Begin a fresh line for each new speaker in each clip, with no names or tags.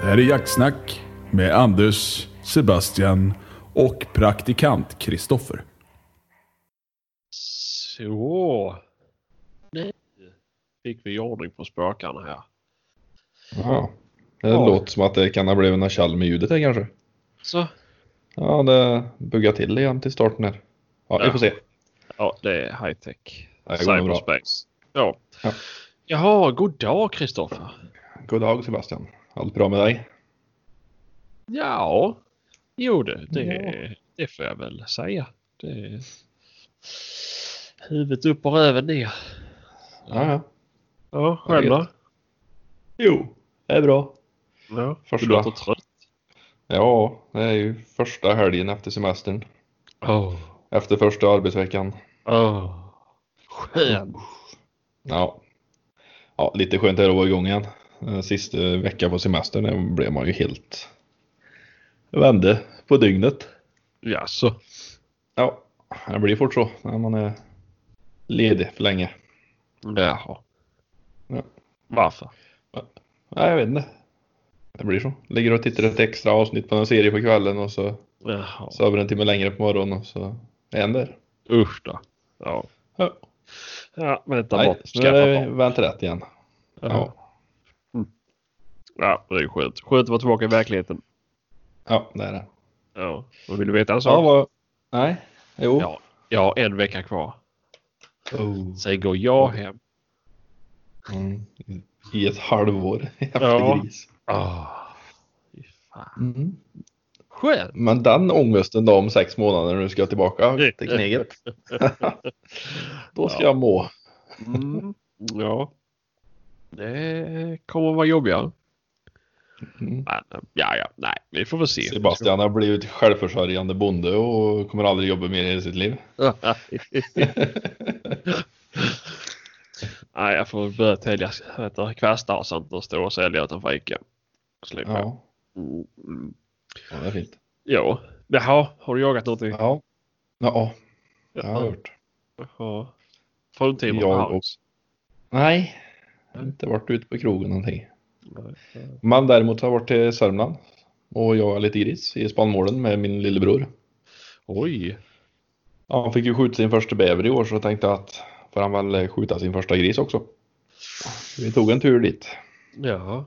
Det här är Jaktsnack med Anders, Sebastian och praktikant Kristoffer.
Så. Nu fick vi ordning på spökarna här.
Ja. Det
Ja.
låter som att det kan ha blivit något tjall med ljudet här kanske.
Så.
Ja, det buggar till igen till starten här. Ja, vi
Ja.
får se.
Ja, det är high tech.
Ja, det går nog bra.
Cyberspace. Ja.
Ja.
Jaha, god dag Kristoffer.
God dag Sebastian. Allt bra med dig?
Ja. Jo du, det, det får jag väl säga. Det... Huvudet upp och röven ner.
Ja, ja.
Ja, själv då?
Jo, det är bra.
Ja,
Första.
Du låter trött.
Ja, det är ju första helgen efter semestern.
Åh.
Efter första arbetsveckan.
Åh. Skön.
Ja. Ja, lite skönt är det att vara igång igen. Eh, Sista veckan på semestern där blev man ju helt... Vände på dygnet.
Jaså?
Ja, det blir fort så när man är ledig för länge.
Jaha.
Ja.
Varför?
Nej, jag vet inte. Det blir så. Ligger och tittar ett extra avsnitt på en serie på kvällen och så
Jaha.
sover en timme längre på morgonen och så händer
Usch då. Ja.
ja.
Ja, vänta
Nej,
bort.
nu
Skaffa
är det
barn.
vänt rätt igen. Ja,
ja, det är skönt. Skönt att vara tillbaka i verkligheten.
ja det är det.
Ja. Och vill du veta en
Ja,
sak?
vad... Nej, jo.
Ja, jag har en vecka kvar.
Oh.
Sen går jag hem.
Mm. I ett halvår efter
Ja.
gris.
Ah, fy fan.
Mm.
Skönt.
Men den ångesten då om sex månader när du ska tillbaka till kneget. då ska
Ja.
jag må.
Mm, ja. Det kommer vara jobbigare.
Mm.
Men, ja, ja, nej, vi får väl se.
Sebastian har blivit självförsörjande bonde och kommer aldrig jobba mer i hela sitt liv.
nej, jag får väl börja tälja vet du, kvastar och sånt och stå och sälja utanför Ica. Slipper jag.
Ja,
Mm, mm.
ja det är fint.
Ja. Jaha, har du jagat någonting?
Ja. Ja, det har jag hört.
Jaha. Fruntimmer på
Jag
Harrods?
Nej, jag har inte varit ute på krogen någonting. Men däremot har jag varit till Sörmland och jagat lite gris i spannmålen med min lillebror.
Oj!
Ja, han fick ju skjuta sin första bäver i år så jag tänkte att får han väl skjuta sin första gris också. Vi tog en tur dit
Ja.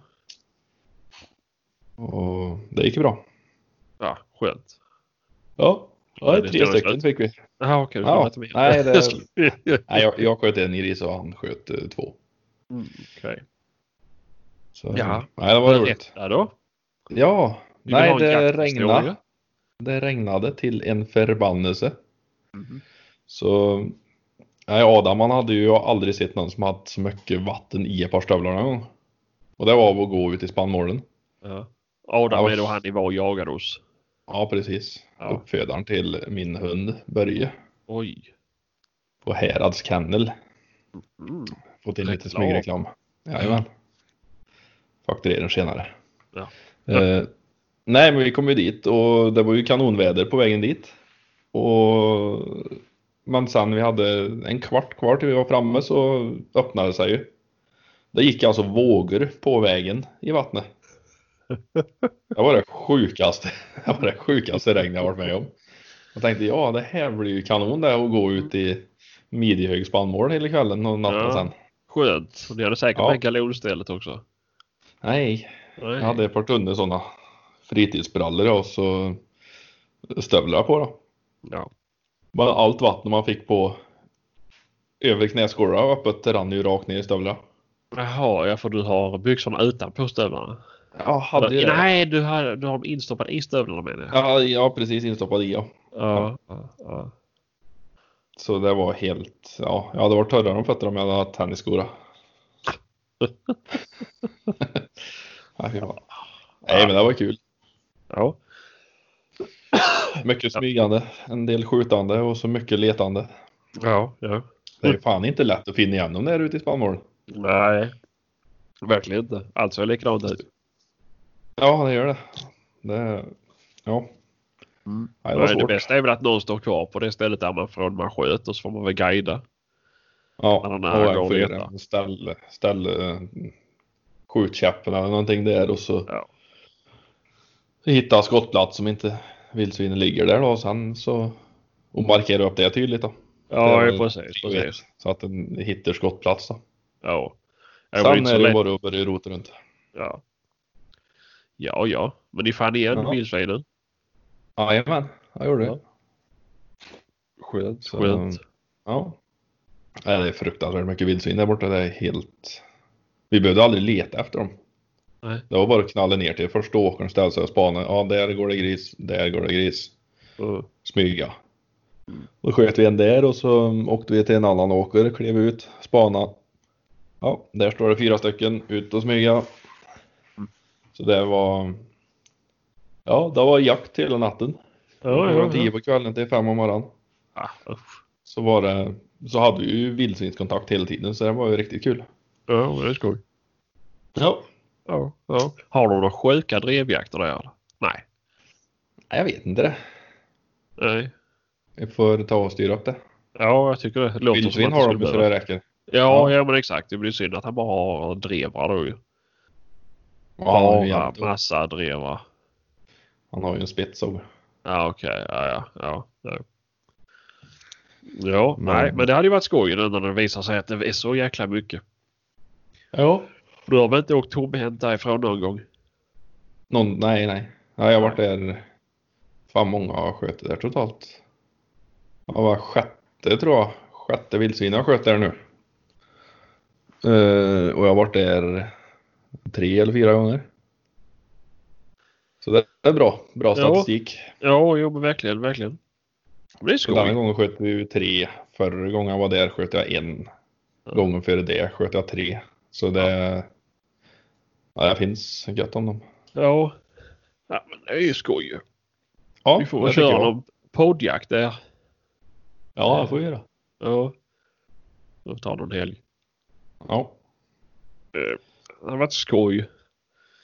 och det gick ju bra.
Ja, skönt.
Ja,
Ja,
ja
det
tre
står det
stycken
slut.
fick vi.
Jaha, okej. Du
Ja,
får berätta mer.
nej, det-
Jag skulle-
Nej, jag, jag sköt en gris och han sköt eh, två.
Mm, Okej.
Så,
Ja.
Nej, det var roligt.
Berätta då.
Ja,
Vi vill
nej
ha en
det
jakthistoria.
regnade. Det regnade till en förbannelse.
Mhm.
Så nej, Adam han hade ju aldrig sett någon som hade så mycket vatten i ett par stövlar någon gång. Och det var av att gå ut i spannmålen.
Ja. Adam
Ja.
är då han ni var och jagade hos.
Ja, precis.
Ja.
Uppfödaren till min hund Börje
Oj.
på Härads kennel.
Mm.
Fått in lite
Reklam.
smygreklam. Jajamän. Fakturering senare.
Ja.
Eh, nej, men vi kom ju dit och det var ju kanonväder på vägen dit. Och, men sen vi hade en kvart kvar till vi var framme så öppnade det sig ju. Det gick alltså vågor på vägen i vattnet. Det var det sjukaste, det var det sjukaste regn jag varit med om. Jag tänkte ja, det här blir ju kanon det att gå ut i midjehög spannmål hela kvällen och natten
Ja.
sen.
Skönt. Och Ni hade säkert
Ja.
med galonstället också.
Nej,
Nej.
Jag hade ett par tunnor sådana fritidsbrallor och så stövlar på då.
Ja.
Men allt vatten man fick på över knäskålarna och öppet rann ju rakt ner i stövlarna.
Jaha, ja för du har byxorna utanpå stövlarna.
Ja, hade ju det.
Nej, du har, du har dem instoppade i stövlarna menar jag.
Ja, ja, precis instoppad i ja.
Ja. ja, ja.
Så det var helt, ja, jag hade varit torrare om fötterna om jag hade haft tennisskor. Nej, fy fan. Nej, men det var kul.
ja.
Mycket smygande, en del skjutande och så mycket letande.
Ja, ja.
Det är ju fan inte lätt att finna igenom det här ute i spannmålen.
Nej. Verkligen inte. Allt ser likadant ut.
Ja, det gör det. det ja.
Mm.
Nej, det var
Nej, det
svårt.
bästa är väl att någon står kvar på det stället där man från man sköt och så får man väl guida.
ja,
Men
och
den här går
jag
att
får
leta.
göra en ställ, ställ eh, skjutkäppen eller någonting där och så
Ja.
hitta skottplats som inte vildsvinen ligger där då och sen så och markera upp det tydligt då.
Ja,
Det är
ja precis.
Jag vet,
precis.
Så att den hittar skottplats då.
Ja. Det var ju
Sen
inte så
är det
lätt.
bara att börja rota runt.
Ja. ja, ja. Men ni fann igen
Ja.
vildsvinen.
Jajamän, jag gjorde det.
Ja.
Skönt. så-
Skönt.
Ja. Nej, det är fruktansvärt mycket vildsvin där borta. Det är helt... Vi behövde aldrig leta efter dem.
Nej.
Det var bara att knalla ner till första åkern, ställa sig och spana. Ja, där går det gris, där går det gris.
Mm.
Smyga. Då sköt vi en där och så mm, åkte vi till en annan åker, klev ut, spana. Ja, där står det fyra stycken, ut och smyga. Så det var... Ja, det var jakt hela natten.
Ja,
Från
ja,
tio
ja.
på kvällen till fem om morgonen
Ah, usch.
så var det, så hade vi ju vildsvinskontakt hela tiden så det var ju riktigt kul.
Ja, men det är skoj.
Ja.
Ja, ja. Har de några sjuka drevjakter där? eller? Nej.
Nej, jag vet inte det.
Nej.
Vi får ta och styra upp det.
Ja, jag tycker det. det låter
Vildsvin
som att
har
skulle
de ju så
behöva-
det räcker.
Ja, ja, men exakt. Det blir synd att han bara har drevrar då ju.
Ja, han,
bara
har ju en,
massa drevrar.
han har ju en spetsog.
Ja, okej. Ja, ja, ja. ja. Ja,
Men-
nej, men det hade ju varit skoj nu när det visar sig att det är så jäkla mycket.
Ja.
Du har väl inte åkt tomhänt därifrån någon gång?
Någon, nej, nej. Ja, jag har varit där. Fan många har jag skjutit där totalt. Jag var sjätte tror jag. Sjätte vildsvin jag sköt där nu. Eh, och jag har varit där tre eller fyra gånger. Så det är bra. Bra statistik.
Ja, jo, men verkligen, verkligen. Men Det är
Så denna
skoj.
gången sköt vi ju tre. Förra gången jag var där sköt jag en. Gången före det sköt jag tre. Så det... Ja, det finns gött om dem.
Ja. ja, men det är ju skoj ju.
Ja,
Vi får
det
väl
tycker
köra
jag.
någon poddjakt där.
Ja, det får vi göra.
Ja. Då tar någon helg.
Ja,
Det har varit skoj.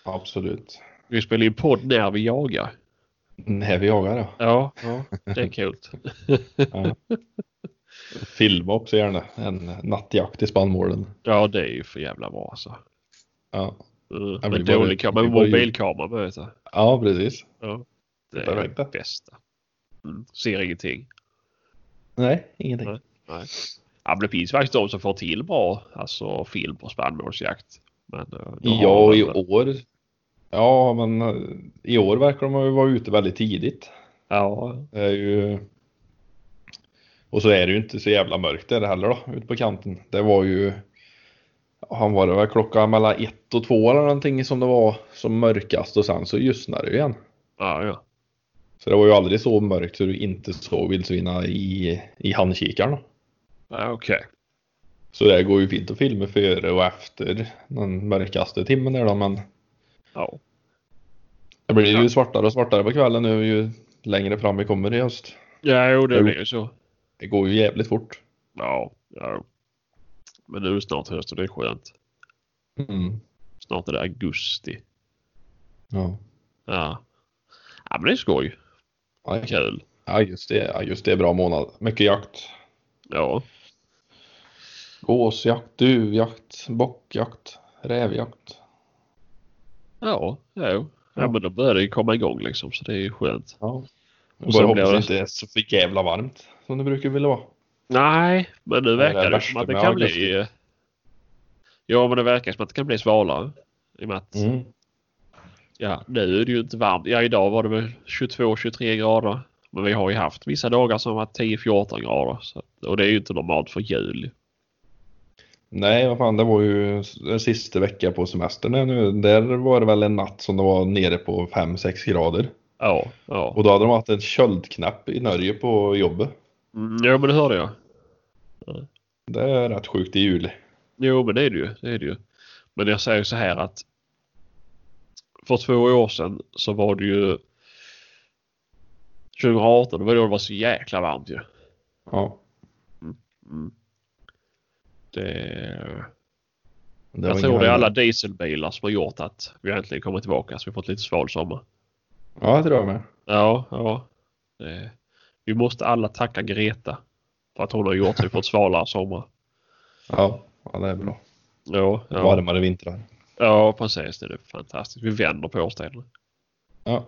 absolut.
Vi spelar in podd när vi jagar.
När vi jagar ja.
Ja, ja det är kul.
Filma också gärna en nattjakt i spannmålen.
Ja, det är ju för jävla bra alltså.
Ja,
Mm,
Ja,
men
vi var ju-
dålig kamera,
vi
men
var ju-
mobilkamera med vet du.
ja precis.
Ja, det är
Perfekt.
det bästa. Mm, ser ingenting.
Nej, ingenting.
Nej. Ja, men det finns faktiskt de som får till bra alltså film och spannmålsjakt. Men, eh, då har
Ja,
de
i
väl-
år. Ja, men eh, i år verkar de ju vara ute väldigt tidigt.
Ja,
Det är ju... Och så är det ju inte så jävla mörkt där heller då, ute på kanten. Det var ju... Han var det väl klockan mellan ett och två eller någonting som det var som mörkast och sen så ljusnade det ju igen.
ja, ja.
Så det var ju aldrig så mörkt så du inte såg vildsvinna i, i handkikaren.
ja Okej.
Så det går ju fint att filma före och efter den mörkaste timmen där då men
Ja.
det blir
Ja.
ju svartare och svartare på kvällen nu ju längre fram vi kommer i höst.
ja, jo det
Jo.
blir ju så.
Det går ju jävligt fort.
Ja, ja. Men nu är det snart höst och det är skönt.
Mm.
Snart är det augusti.
Ja.
Ja. Ja, men det är skoj.
Ja, det
Kul.
Ja just det, ja, just det är bra månad. Mycket jakt.
Ja.
Gåsjakt, duvjakt, bockjakt, rävjakt.
Ja, ja. ja. ja men då börjar det ju komma igång liksom så det är ju skönt.
Ja. Och
sen
bara hoppas
blir det-
det inte är så för jävla varmt som det brukar vilja vara.
Nej, men nu
det är
verkar det
värsta
som att det
med
kan bli...
augusti.
eh, Ja, men det verkar som att det kan bli svalare. I och med
Mm.
att ja, nu är det ju inte varmt. Ja, idag var det väl 22-23 grader. Men vi har ju haft vissa dagar som har varit 10-14 grader. Så, att- och det är ju inte normalt för jul.
Nej, vad fan, det var ju den sista veckan på semestern här nu. Där var det väl en natt som det var nere på 5-6 grader.
Ja, ja.
Och då hade de haft en köldknapp i Norge på jobbet.
Mm, jo, men det hörde jag.
Det är rätt sjukt i juli.
Jo, men det är det ju. Det är det ju. Men jag säger så här att för två år sedan så var det ju 2018, det var då det var så jäkla varmt ju.
Ja,
Det...
det var
Jag tror
ingen
det är alla
annan.
dieselbilar som har gjort att vi äntligen kommer tillbaka så vi har fått lite sval sommar.
Ja, det tror jag med.
Ja, ja. Det... Vi måste alla tacka Greta för att hon har gjort att vi fått svalare sommar.
Ja, ja det är bra.
Ja, ja.
Varmare vintrar.
ja, precis. Det är fantastiskt. Vi vänder på årstiderna.
Ja.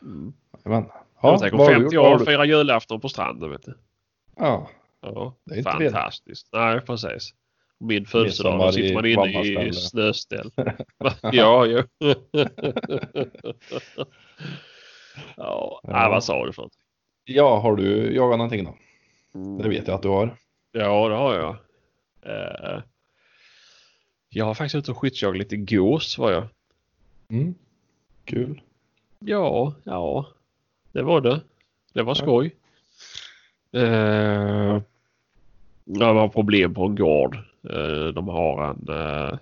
Men,
Ja,
ja,
Tänk om
vad har du
50
gjort? Vad
år
har
och
du-
fira julafton på stranden. Vet du.
Ja,
Ja,
Det är inte fel.
fantastiskt. Nej, precis. Min födelsedag, då
Midsommar
sitter
i
man inne i,
Vammaställe.
snöställ. ja, jo. ja. ja, nej, vad sa du för något?
ja, har du jagat någonting då? Det vet jag att du har.
Ja, det har jag. Eh, jag har faktiskt ute och skyddsjagat lite gås var jag.
Mm. Kul.
Ja, ja. Det var det. Det var skoj.
Mm.
Eh, det var problem på en gård. Eh, de har en, eh,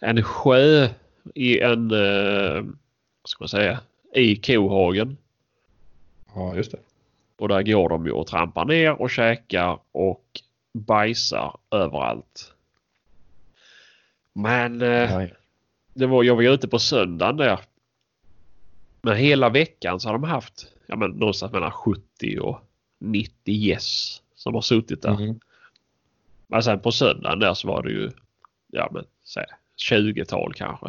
en sjö i en, eh, vad ska man säga, i kohagen.
Ja, just det.
Och där går de ju och trampar ner och käkar och bajsar överallt. Men eh,
Ja, ja.
det var, jag var ju ute på söndagen där. Men hela veckan så har de haft ja, men någonstans mellan 70 och 90 gäss som har suttit där.
Mhm.
Men sen på söndagen där så var det ju ja, men, så här, 20-tal kanske.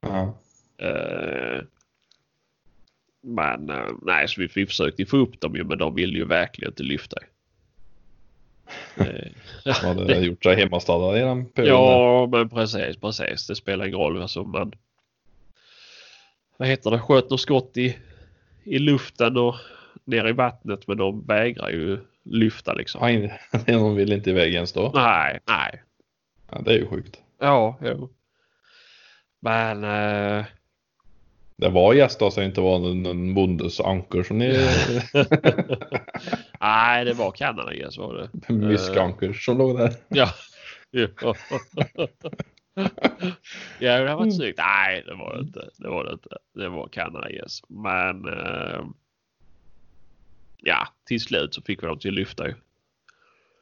Ja.
Eh, men eh, nej, så vi, vi försökte ju få upp dem ju men de ville ju verkligen inte lyfta. Eh,
De hade gjort sig hemmastadda i den perioden.
Ja, men precis, precis. Det spelar ingen roll. Alltså, man, vad heter det? Sköt och skott i, i luften och ner i vattnet. Men de vägrar ju lyfta liksom.
Nej, de vill inte iväg ens då.
Nej, nej.
Ja, det är ju sjukt.
Ja, jo. Men eh,
Det var gäster så det inte var någon- någon bondes anker som ni...
nej, det var Kanadagäss var det.
Myskanker som låg där.
Ja. ja, det hade varit snyggt. Nej, det var det inte. Det var det inte. Det var Kanadagäss. Men eh, ja, till slut så fick vi dem till lyfta ju.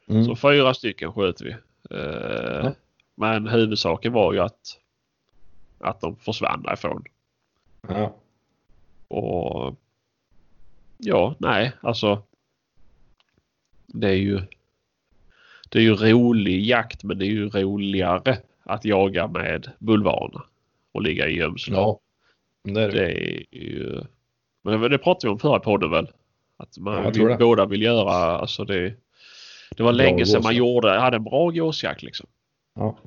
Mm.
Så fyra stycken sköt vi. Eh,
Ja.
Men huvudsaken var ju att, att de försvann därifrån.
Ja.
Och ja, nej, alltså. Det är ju. Det är ju rolig jakt, men det är ju roligare att jaga med bulvanerna och ligga i gömslen.
ja. Det är det.
Det är ju. Men det, det pratade vi om förra podden väl? Att man
Ja, jag tror
vi
det.
båda vill göra, alltså det. Det var
Bra
länge sedan man
gåsjakt.
gjorde, hade en bra gåsjakt liksom.
Ja.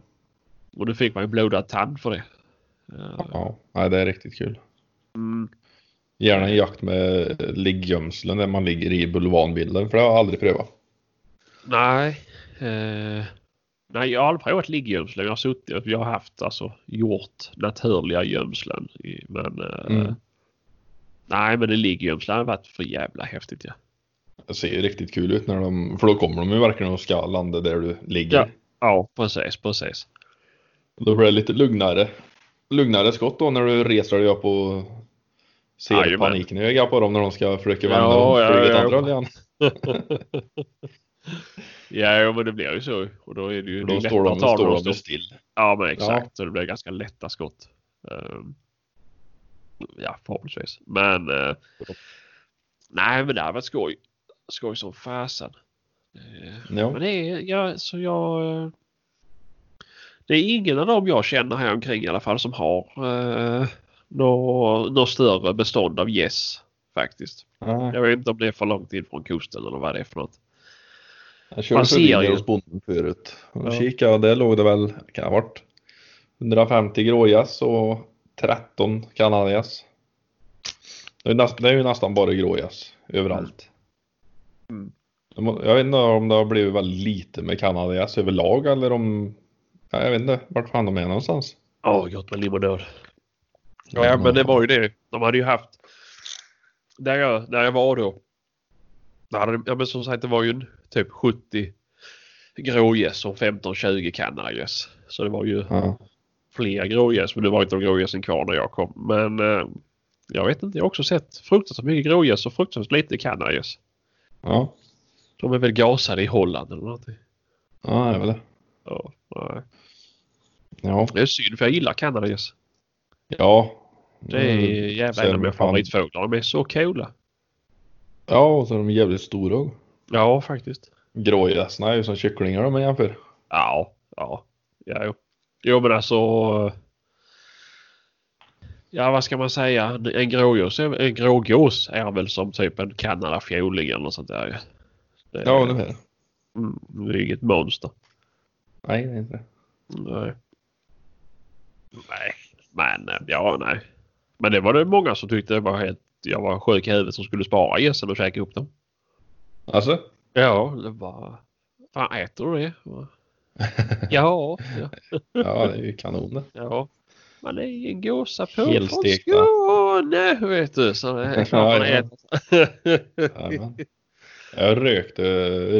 Och då fick man ju blodad tand för det. Eh,
ja. Nej, det är riktigt kul.
Mm,
Gärna en jakt med ligggömslen där man ligger i bulvanbilden för det har jag aldrig prövat.
Nej. Eh, nej, jag har aldrig provat ligggömslen. Jag har suttit, jag har haft alltså gjort naturliga gömslen. i- Men eh,
Mm.
nej, men det ligggömslen har varit för jävla häftigt ja.
Det ser ju riktigt kul ut när de, för då kommer de ju verkligen och ska landa där du ligger.
Ja. Ja, precis, precis.
Då blir det lite lugnare, lugnare skott då när du reser dig upp och ser
Jajamän.
paniken i ögat på dem när de ska försöka vända
Ja,
dem
ja,
flyga åt
ja.
andra hållet igen.
Ja, jo, men det blir ju så. Och då är det ju
För
det är
Då
lättare
står de,
att
då
ta när
står de
står-
ju still.
Ja, men exakt. Så det blir ganska lätta skott. Ehm, ja, förhoppningsvis. Men eh, nej, men det här var skoj. Skoj som fasen. Eh, Men
Ja.
det är, jag, så jag... eh, Det är ingen av dem jag känner här omkring i alla fall som har eh, något nå större bestånd av gäss faktiskt.
Ja.
Jag vet inte om det är för långt in från kusten eller vad det är för något.
Jag körde
Man ser
förbi
ju.
hos bonden förut. Och
Ja.
kikade, där låg det väl, kan det ha varit 150 grågäss och 13 kanadagäss. Det är ju nästan, det är ju nästan bara grågäss överallt.
Mm.
De har- Jag vet inte om det har blivit väldigt lite med kanadagäss överlag eller om, ja, jag vet inte vart fan de är någonstans.
Ja, gott med limonad. Ja, men det var ju det. De hade ju haft... Där jag, där jag var då. Där hade, ja, men som sagt, det var ju en, typ 70 grågäss och 15-20 kanadagäss. Så det var ju
Ja.
fler grågäss, men det var inte de grågässen kvar när jag kom. Men eh, jag vet inte, jag har också sett fruktansvärt mycket grågäss och fruktansvärt lite kanadagäss.
Ja.
De är väl gasade i Holland eller någonting.
ja, det är väl det.
Ja, nej.
Ja.
det är synd för jag gillar kanadagäss.
ja.
Det är
Mm.
jävla en
Sen
av mina
fan-
favoritfåglar. De är så coola.
Ja, och så är de jävligt stora.
Ja, faktiskt.
Grågässarna är ju som kycklingar de är jämför.
Ja, ja. ja jo. jo, men alltså. eh, ja vad ska man säga, en grågås är, en grågås är väl som typ en kanadafjäling eller något sånt där ju. Det är,
Ja, det är det.
mm, det är inget monster.
Nej, det är inte det.
Nej. Nej, men eh, ja, nej. Men det var det många som tyckte det var helt, jag var sjuk i huvudet som skulle spara gässen och käka upp dem.
Alltså?
Ja, det var... Fan, äter du det? Ja, ja,
Ja, det är ju kanon det.
ja. Man är ju en gåsa på från
Helstekta.
Skåne, vet du. Så det är klart man
Ja, ja.
äter.
Jajamän. Jag rökte,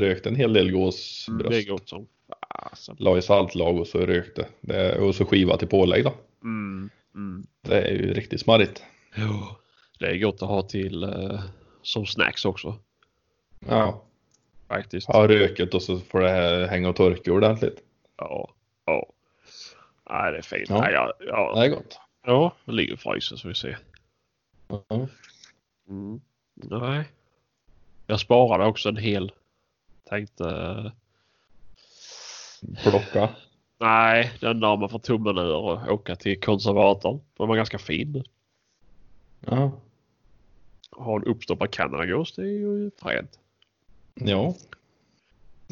rökte en hel del gåsbröst.
Det är gott som fasen.
La i saltlag och så rökte. Det, och så skiva till pålägg då.
Mm, mm.
Det är ju riktigt smarrigt.
Jo, det är gott att ha till eh, som snacks också.
Ja,
Faktiskt.
ha röket och så får det här hänga och torka ordentligt.
Ja, ja. Nej, det är fint.
Ja.
Nej, ja,
Det
ja.
är gott.
ja, det ligger i frysen så vi ser.
Ja.
Mm. Nej. Jag sparade också en hel. Tänkte... eh,
Plocka.
Nej, den där man får tummen ur och åka till konservatorn. Den var ganska fin.
Ja.
Ha en uppstoppad kanadagås, det är ju fränt.
ja.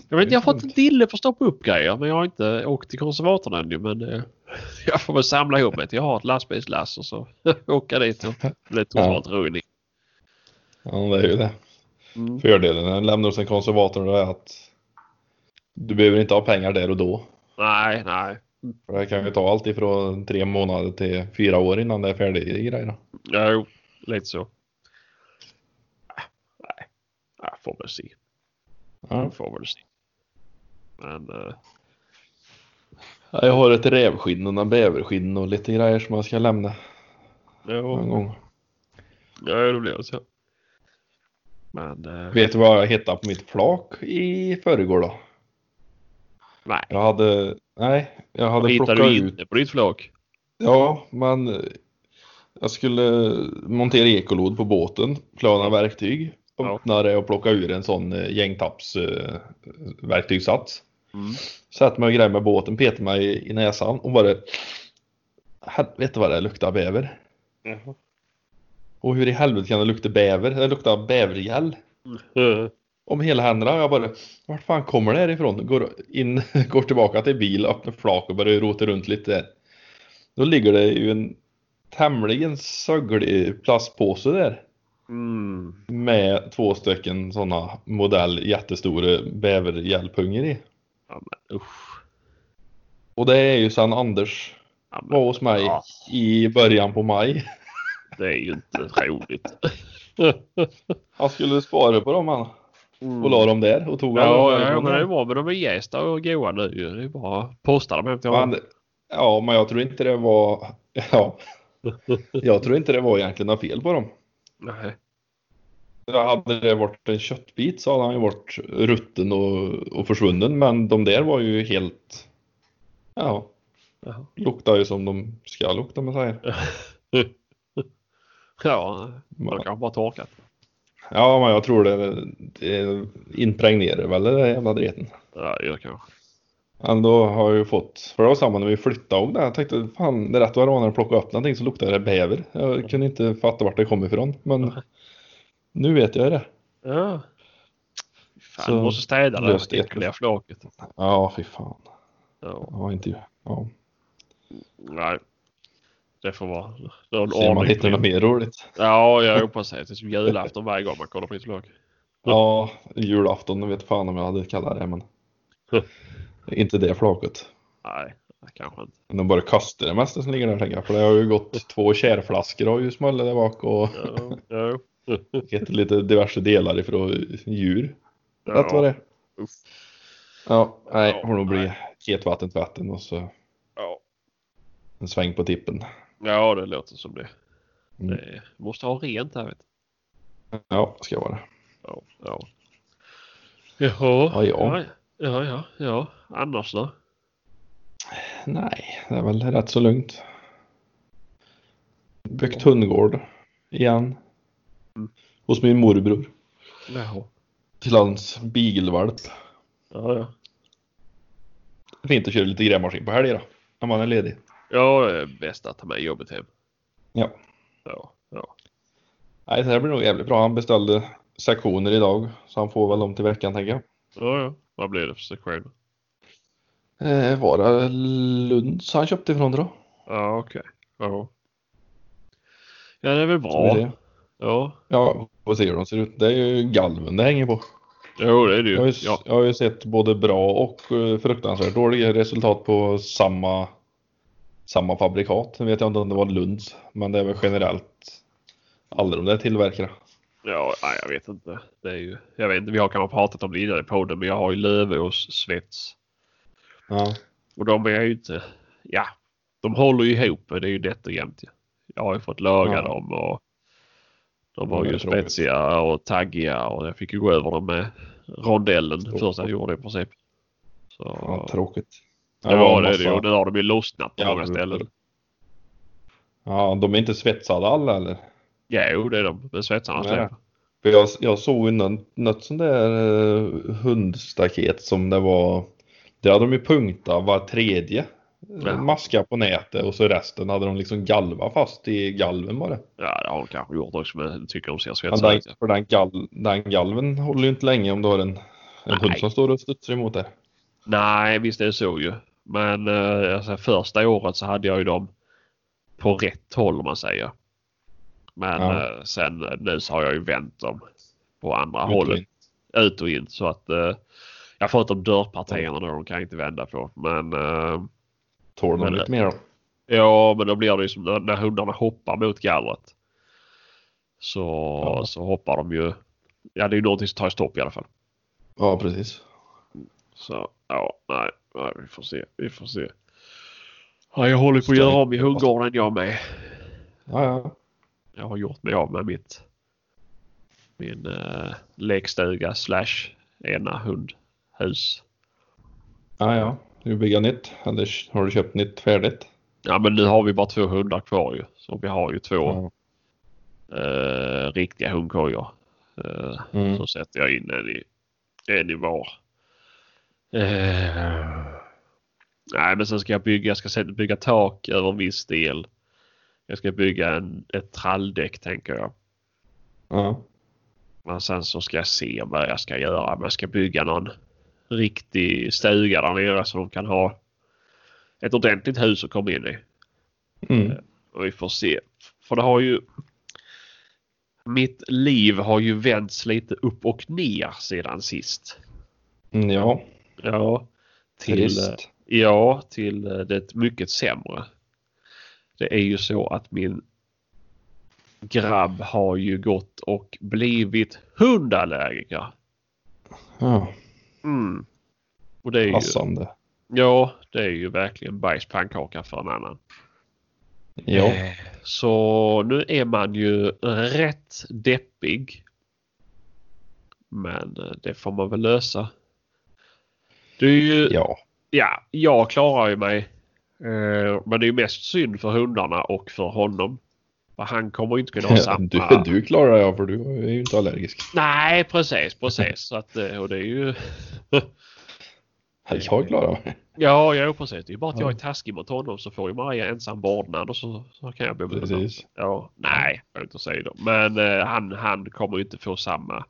Jag vet inte, jag har
Det är
fått en dille för att stoppa upp grejer men jag har inte åkt till konservatorn ännu. Men eh, jag får väl samla ihop mig till jag har ett lastbilslass och så åka dit och bli totalt ruinig.
Ja, det är ju det.
Mm.
Fördelen när den lämnar hos en konservator är att du behöver inte ha pengar där och då.
Nej, nej.
För det kan ju ta allt ifrån tre månader till fyra år innan det är färdigt i grejerna.
Ja, Jo, lite så. Ah, Nej, jag får väl se.
Ja.
Jag får väl se. Men eh,
Jag har ett rävskinn och några bäverskinn och lite grejer som jag ska lämna någon
jo,
gång.
ja, det blir så. Men eh,
Vet du vad jag hittade på mitt flak i förrgår då?
nej,
Jag hade, nej, jag hade
vad hittar
plockat
du
ut.
inte på ditt flak?
Ja, men eh, jag skulle montera ekolod på båten, plana verktyg,
Ja.
öppna det och plocka ur en sån eh, gängtapps eh, verktygssats.
Mm.
Satt mig och grejade med båten, petade mig i- i näsan och bara Helvete vad det luktar bäver. Och hur i helvete kan det lukta bäver? Det luktar bävergäll.
Eh,
Om hela händerna. Jag bara, vart fan kommer det här ifrån? Går, in, går tillbaka till bil, öppnar flak och börjar rota runt lite där. Då ligger det ju en tämligen söglig plastpåse där.
Mm.
Med två stycken sådana modell jättestora bävergällpungor i.
Ja, men usch.
Och det är ju sen Anders
Ja, men,
var hos mig
Ja.
i början på maj.
det är ju inte roligt.
Han skulle spara på dem han. Och la dem där och tog alla
Mm. Ja,
dem
ja,
därifrån.
men det är bra. Men de är jästa och goa nu ju. Det är bara att posta dem hem till honom.
Men, ja, men jag tror inte det var... Ja. Jag tror inte det var egentligen något fel på dem.
Nej.
Hade det varit en köttbit så hade han ju varit rutten och, och försvunnen. Men de där var ju helt... Ja,
Jaha.
luktar ju som de ska lukta om man säger.
Ja, de
Men-
kanske bara torkat.
Ja, men jag tror det, det impregnerar väl den där jävla dreten.
Ja, jag kanske.
Ändå har jag ju fått, för det var samma när vi flyttade om där. Jag tänkte fan, det rätt vad det var när jag plockade upp någonting så luktade det bäver. Jag kunde inte fatta vart det kom ifrån, men nu vet jag det.
Ja. Fan,
Så,
du måste städa det
löst
här äckliga flaket.
Ja, fy fan.
Ja,
Ja, inte ja.
nej. Det får vara någon
Se om man
ordning. på
hittar något
det.
mer roligt.
Ja, jag hoppas det. Det är som julafton varje gång man kollar på ditt flak.
Ja, julafton, jag vet fan om jag hade kallat det, men inte det flaket.
Nej, kanske inte.
Men De bara kastar det mesta som ligger där, tänker jag. För det har ju gått två kärflaskor har ju smällt där bak och
Ja, ja.
hittat lite diverse delar ifrån djur.
ja.
Rätt vad det är.
Uff.
Ja, nej,
Ja,
får nog bli ketvatten, tvätten och så
Ja.
en sväng på tippen.
ja, det låter som det.
Mm.
det måste ha rent här vet du.
Ja, ska jag vara.
Ja, ja. Jaha.
Ja, ja.
Ja, ja, ja. Annars då?
Nej, det är väl rätt så lugnt. Byggt hundgård igen.
Mm.
Hos min morbror.
Jaha.
Till hans beagle-valp.
Ja, ja.
Fint att köra lite grävmaskin på helger då. När man är ledig.
Ja, det är bäst att ta med jobbet hem.
Ja.
Ja, ja.
Nej, det här blir nog jävligt bra. Han beställde sektioner idag, så han får väl dem till veckan tänker jag.
ja, ja. Vad blir det för sektion?
Eh, var det Lunds han köpte ifrån då?
Ja, okej. Ja. ja, det är väl
Tror
bra.
vi det.
Ja,
Ja, vad ser hur de ser ut. Det är ju galven det hänger på.
jo det är det
Jag har, ju,
ju. Ja,
jag har ju sett både bra och eh, fruktansvärt dåliga resultat på samma, samma fabrikat. Nu vet jag inte om det var Lunds, men det är väl generellt alla de där tillverkarna.
ja nej, jag vet inte. Det är ju, jag vet inte, vi har kanske pratat om det innan i podden, men jag har ju Löfås svets.
Ja.
Och de är ju inte, ja, de håller ju ihop. men Det är ju nätt och jämnt. ju. Jag har ju fått laga
Ja.
dem och de
Ja,
var
det
ju
är tråkigt.
spetsiga och taggiga och jag fick ju gå över dem med rondellen
Tråkigt.
första jag gjorde i princip. Så,
Ja, tråkigt.
det var det
massa-
ju och nu har de ju lossnat på
Ja,
många
det-
ställen.
Ja, de är inte svetsade alla eller?
Ja, jo det är de, men svetsarna
Nej.
släpper.
För jag, jag såg ju något, något sånt där eh, hundstaket som det var. Det hade de ju punktat var tredje.
Ja.
Ja. Maska på nätet och så resten hade de liksom galva fast i galven bara.
Ja, det har de kanske gjort också men jag tycker de ser
Men
svetsade
den,
ut. ja.
för den, gal, den galven håller ju inte länge om du har en, en hund
Nej.
som står och studsar emot dig.
Nej, visst är det så ju. Men eh, alltså, första året så hade jag ju dem på rätt håll om man säger. Men
Ja.
eh, sen eh, nu så har jag ju vänt dem på andra
Ut och
hållet.
in.
Ut och in. Så att eh, jag får förutom dörrpartierna då, de kan jag inte vända på. Men eh,
Tål de
Men-
lite mer då?
ja, men då blir det ju som när, när hundarna hoppar mot gallret. Så,
Ja.
så hoppar de ju. Ja, det är ju någonting som tar stopp i alla fall.
Ja, precis.
Så ja, nej, nej, vi får se, vi får se. Ja, jag håller på
Ska
att
vi-
göra om i hundgården jag med.
Ja, ja.
Jag har gjort mig av med mitt min eh, lekstuga slash ena hundhus.
ja, ja. Ska Du bygga nytt eller har du köpt nytt färdigt?
Ja, men nu har vi bara två hundar kvar ju. Så vi har ju två
Ja.
eh, riktiga hundkojor. Eh,
Mm.
Så sätter jag in en i, en i var. Eh, nej, men sen ska jag bygga, jag ska sätta, bygga tak över en viss del. Jag ska bygga en, ett tralldäck tänker jag.
Ja.
Men sen så ska jag se vad jag ska göra. Men jag ska bygga någon riktig stuga där nere så de kan ha ett ordentligt hus att komma in i.
Mm.
Och vi får se. För det har ju... Mitt liv har ju vänts lite upp och ner sedan sist.
Mm, Ja,
Ja. Till, eh,
trist.
ja, till eh, det mycket sämre. Det är ju så att min grabb har ju gått och blivit hundallergiker.
Ja,
Mm. Och det är ju,
passande.
ja, det är ju verkligen bajspannkaka för en annan.
Ja.
Eh, Så nu är man ju rätt deppig. Men eh, det får man väl lösa. Det är ju, ja.
Ja,
jag klarar ju mig. Eh, Men det är ju mest synd för hundarna och för honom. För han kommer ju inte kunna ha samma...
du, du klarar jag för du är ju inte allergisk.
Nej, precis, precis. Så att, eh, och det är ju...
Jag klarar mig.
Ja, ja precis. Det är ju bara att jag är
Ja.
taskig mot honom så får ju Maria ensam vårdnad och så, så kan jag bo med honom.
Precis.
Ja, nej, jag vill inte säga det. Men eh, han, han kommer ju inte få samma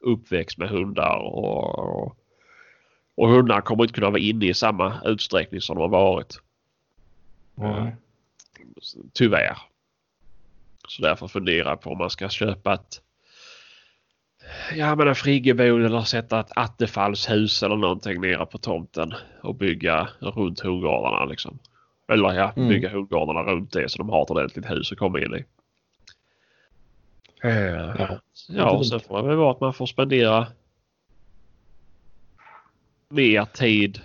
uppväxt med hundar och, och, och hundar kommer inte kunna vara inne i samma utsträckning som de har varit.
Nej.
Tyvärr. Så därför funderar jag på om man ska köpa ett Ja men en friggebod eller sätta ett attefallshus eller någonting nere på tomten och bygga runt hundgårdarna liksom. Eller ja,
Mm.
bygga hundgårdarna runt det så de har ett ordentligt hus att komma in i.
Ja.
Ja, och sen får det väl vara att man får spendera mer tid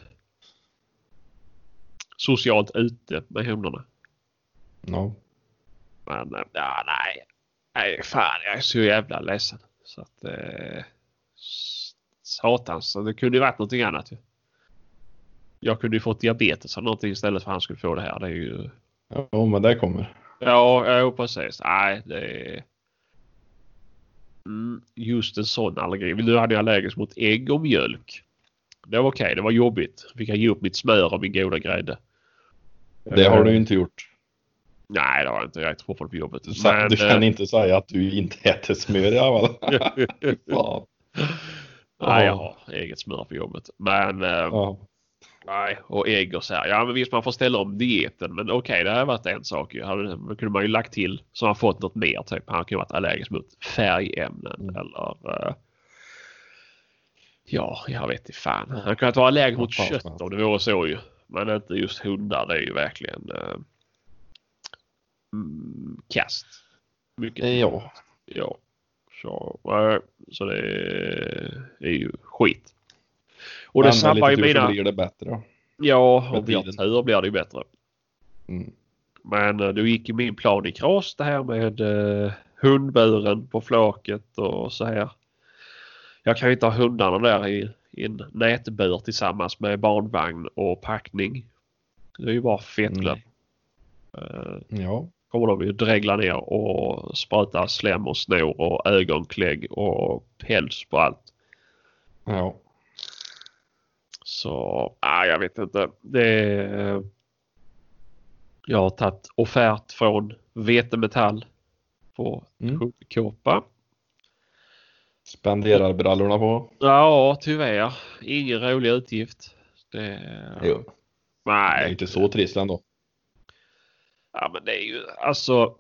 socialt ute med hundarna.
Ja.
Men eh, ja, nej. Nej, fan jag är så jävla ledsen. Så att... Eh, s- satans, så det kunde ju varit någonting annat ju. Jag kunde ju fått diabetes eller någonting istället för att han skulle få det här. Det är ju...
ja, men det kommer.
Ja, ja precis. Nej, det är... Mm, just en sån allergi. Nu hade jag allergisk mot ägg och mjölk. Det var okej, det var jobbigt. Fick jag ge upp mitt smör och min goda grädde.
Det har du ju inte gjort.
Eh, Nej, det har jag inte. Jag är fortfarande på jobbet.
Så du
eh,
kan inte säga att du inte äter smör i alla fall. Fan.
Nej, jag har eget smör på jobbet. Men eh,
Ja.
nej, och ägg och så här. Ja, men visst man får ställa om dieten. Men okej, det här har varit en sak ju. Hade- Då kunde man ju lagt till så man fått något mer. Typ han kunde varit allergisk mot färgämnen
Mm.
eller eh, Ja, jag vet inte fan. Han kunde vara allergisk mot
Vad fan,
kött
vad-
om det vore så ju. Men inte just hundar. Det är ju verkligen eh, mm, kast. Mycket.
ja.
Eh, Ja. Så, eh, så det är, är ju skit. Och det
Men med
sabbar ju
lite tur så
mina...
blir det bättre.
Ja,
med
om vi har
tiden.
tur blir det ju bättre.
Mm.
Men eh, då gick ju min plan i kras det här med eh, hundburen på flaket och så här. Jag kan ju inte ha hundarna där i, i en nätbur tillsammans med barnvagn och packning. Det är ju bara fettlöp. Eh,
Ja.
kommer de ju dregla ner och spruta slem och snor och ögonklägg och päls på allt.
Ja.
Så nej, jag vet inte. Det är, jag har tagit offert från Vetemetall på
Mm.
Kåpa.
Spenderar brallorna på.
Ja, tyvärr. Ingen rolig utgift. Det,
Jo. Det är
nej,
inte så trist ändå.
Ja, men det är ju alltså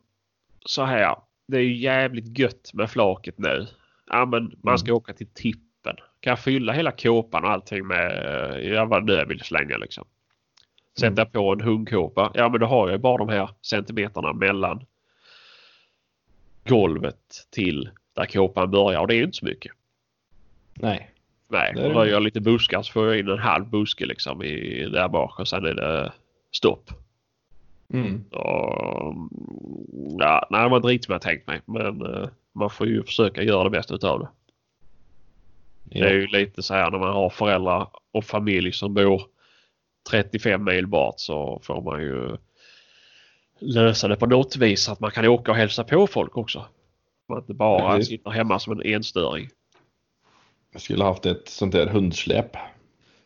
så här. Det är ju jävligt gött med flaket nu. Ja, men man ska åka till tippen. Kan jag fylla hela kåpan och allting med eh, ja, vad nu jag vill slänga liksom. Sätta på en hundkåpa. Ja, men då har jag ju bara de här centimeterna mellan golvet till där kåpan börjar och det är ju inte så mycket.
Nej.
Nej,
Det är det.
röjer jag lite buskar så får jag in en halv buske liksom i, där bak och sen är det stopp.
Mm.
Ja, ja, nej, det var inte riktigt vad jag tänkt mig. Men eh, man får ju försöka göra det bästa utav det. Det är
Ja.
ju lite så här när man har föräldrar och familj som bor 35 mil bort så får man ju lösa det på något vis så att man kan åka och hälsa på folk också. Man inte bara
Precis.
sitter hemma som en enstöring.
Jag skulle haft ett sånt där hundsläp.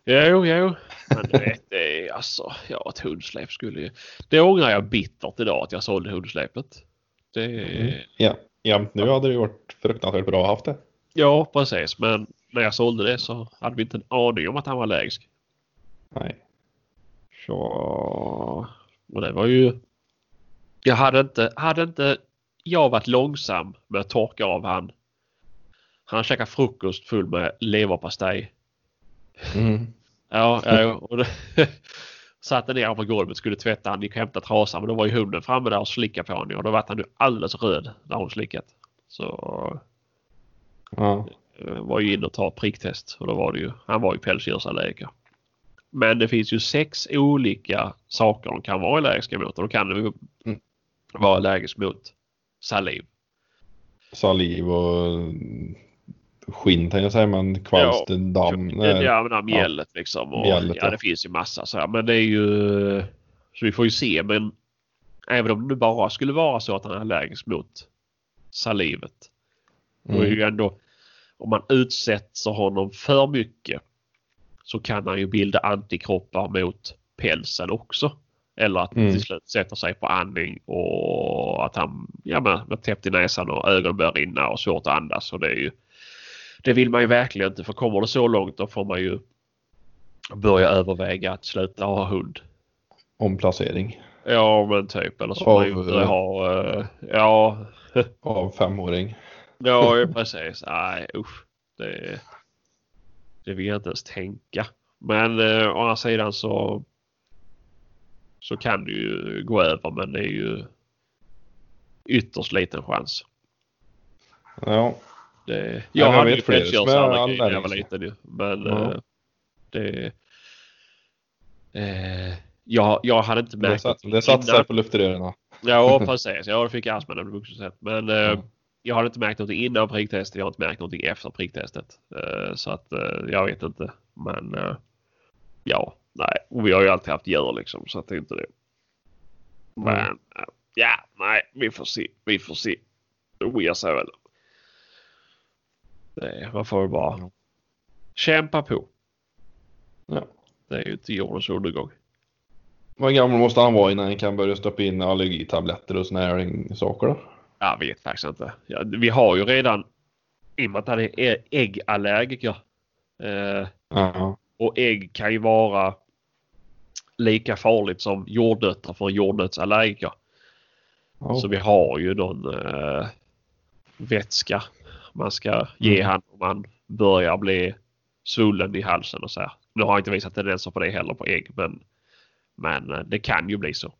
Jo, jo. Men du vet, det är alltså, ja ett hundsläp skulle ju... Det ångrar jag bittert idag att jag sålde hundsläpet. Det
Ja. Jämt nu hade det varit fruktansvärt bra att haft det.
Ja, precis. Men när jag sålde det så hade vi inte en aning om att han var allergisk.
Nej.
Så... Och det var ju... Jag hade inte... Hade inte jag varit långsam med att torka av han. Han käkade frukost full med leverpastej.
Mm.
Ja, ja och det, satte ner honom på golvet skulle tvätta han gick och hämtade trasan men då var ju hunden framme där och slickade på honom och då var han ju alldeles röd när hon slickat. Så
Ja.
eh, var ju inne och ta pricktest och då var det ju, han var ju pälsdjursallergiker. Men det finns ju sex olika saker de kan vara allergiska mot och då kan de ju
Mm.
vara allergisk mot saliv.
Saliv och skinn tänkte jag säga, men kvalst,
Ja.
damm. nej.
Ja, men det här mjället liksom. Och,
Mjället,
ja,
ja.
det finns ju massa så här. Men det är ju... Så vi får ju se. Men även om det bara skulle vara så att han är allergisk mot salivet. Då är
Mm.
ju ändå... Om man utsätter honom för mycket så kan han ju bilda antikroppar mot pälsen också. Eller att
Mm.
till slut sätter sig på andning och att han ja, men, blir täppt i näsan och ögonen börjar rinna och svårt att andas. Och det, är ju, det vill man ju verkligen inte för kommer det så långt då får man ju börja överväga att sluta ha hund.
Omplacering
Ja men typ eller så får man ju
Av-
börja ha eh, ja
av femåring.
Ja, ju precis. Nej, usch. Det, det vill jag inte ens tänka. Men eh, å andra sidan så, så kan det ju gå över, men det är ju ytterst liten chans.
Ja.
Det, jag,
men jag
hade
vet
ju
fler
pälsdjursallergi
som är
när jag var liten ju. Men
liksom- Ja.
eh, det... Eh, jag, jag hade inte
Det
märkt
satt, det satt
innan.
sig på luftrören.
Ja, precis. Ja, då fick jag astma när jag blev vuxen. sett. Men eh,
Ja.
jag hade inte märkt någonting innan pricktestet. Jag har inte märkt någonting efter pricktestet. Eh, så att eh, jag vet inte. Men eh, ja, nej. Och vi har ju alltid haft djur liksom. Så att det är inte det. Men
Mm.
eh, ja, nej. Vi får se. Vi får se. Det ojar sig väl. Nej, man får väl bara
Ja.
kämpa på.
Ja.
Det är ju inte jordens undergång.
Vad gammal måste han vara innan han kan börja stoppa in allergitabletter och såna här saker då?
Jag vet faktiskt inte. Ja, vi har ju redan, i och med att han är ä- äggallergiker. Eh,
Ja.
och ägg kan ju vara lika farligt som jordnötter för en jordnötsallergiker. Så vi har ju någon eh, vätska man ska ge han om han börjar bli svullen i halsen och så här. Nu har jag inte visat tendenser på det heller på ägg men, men eh, det kan ju bli så.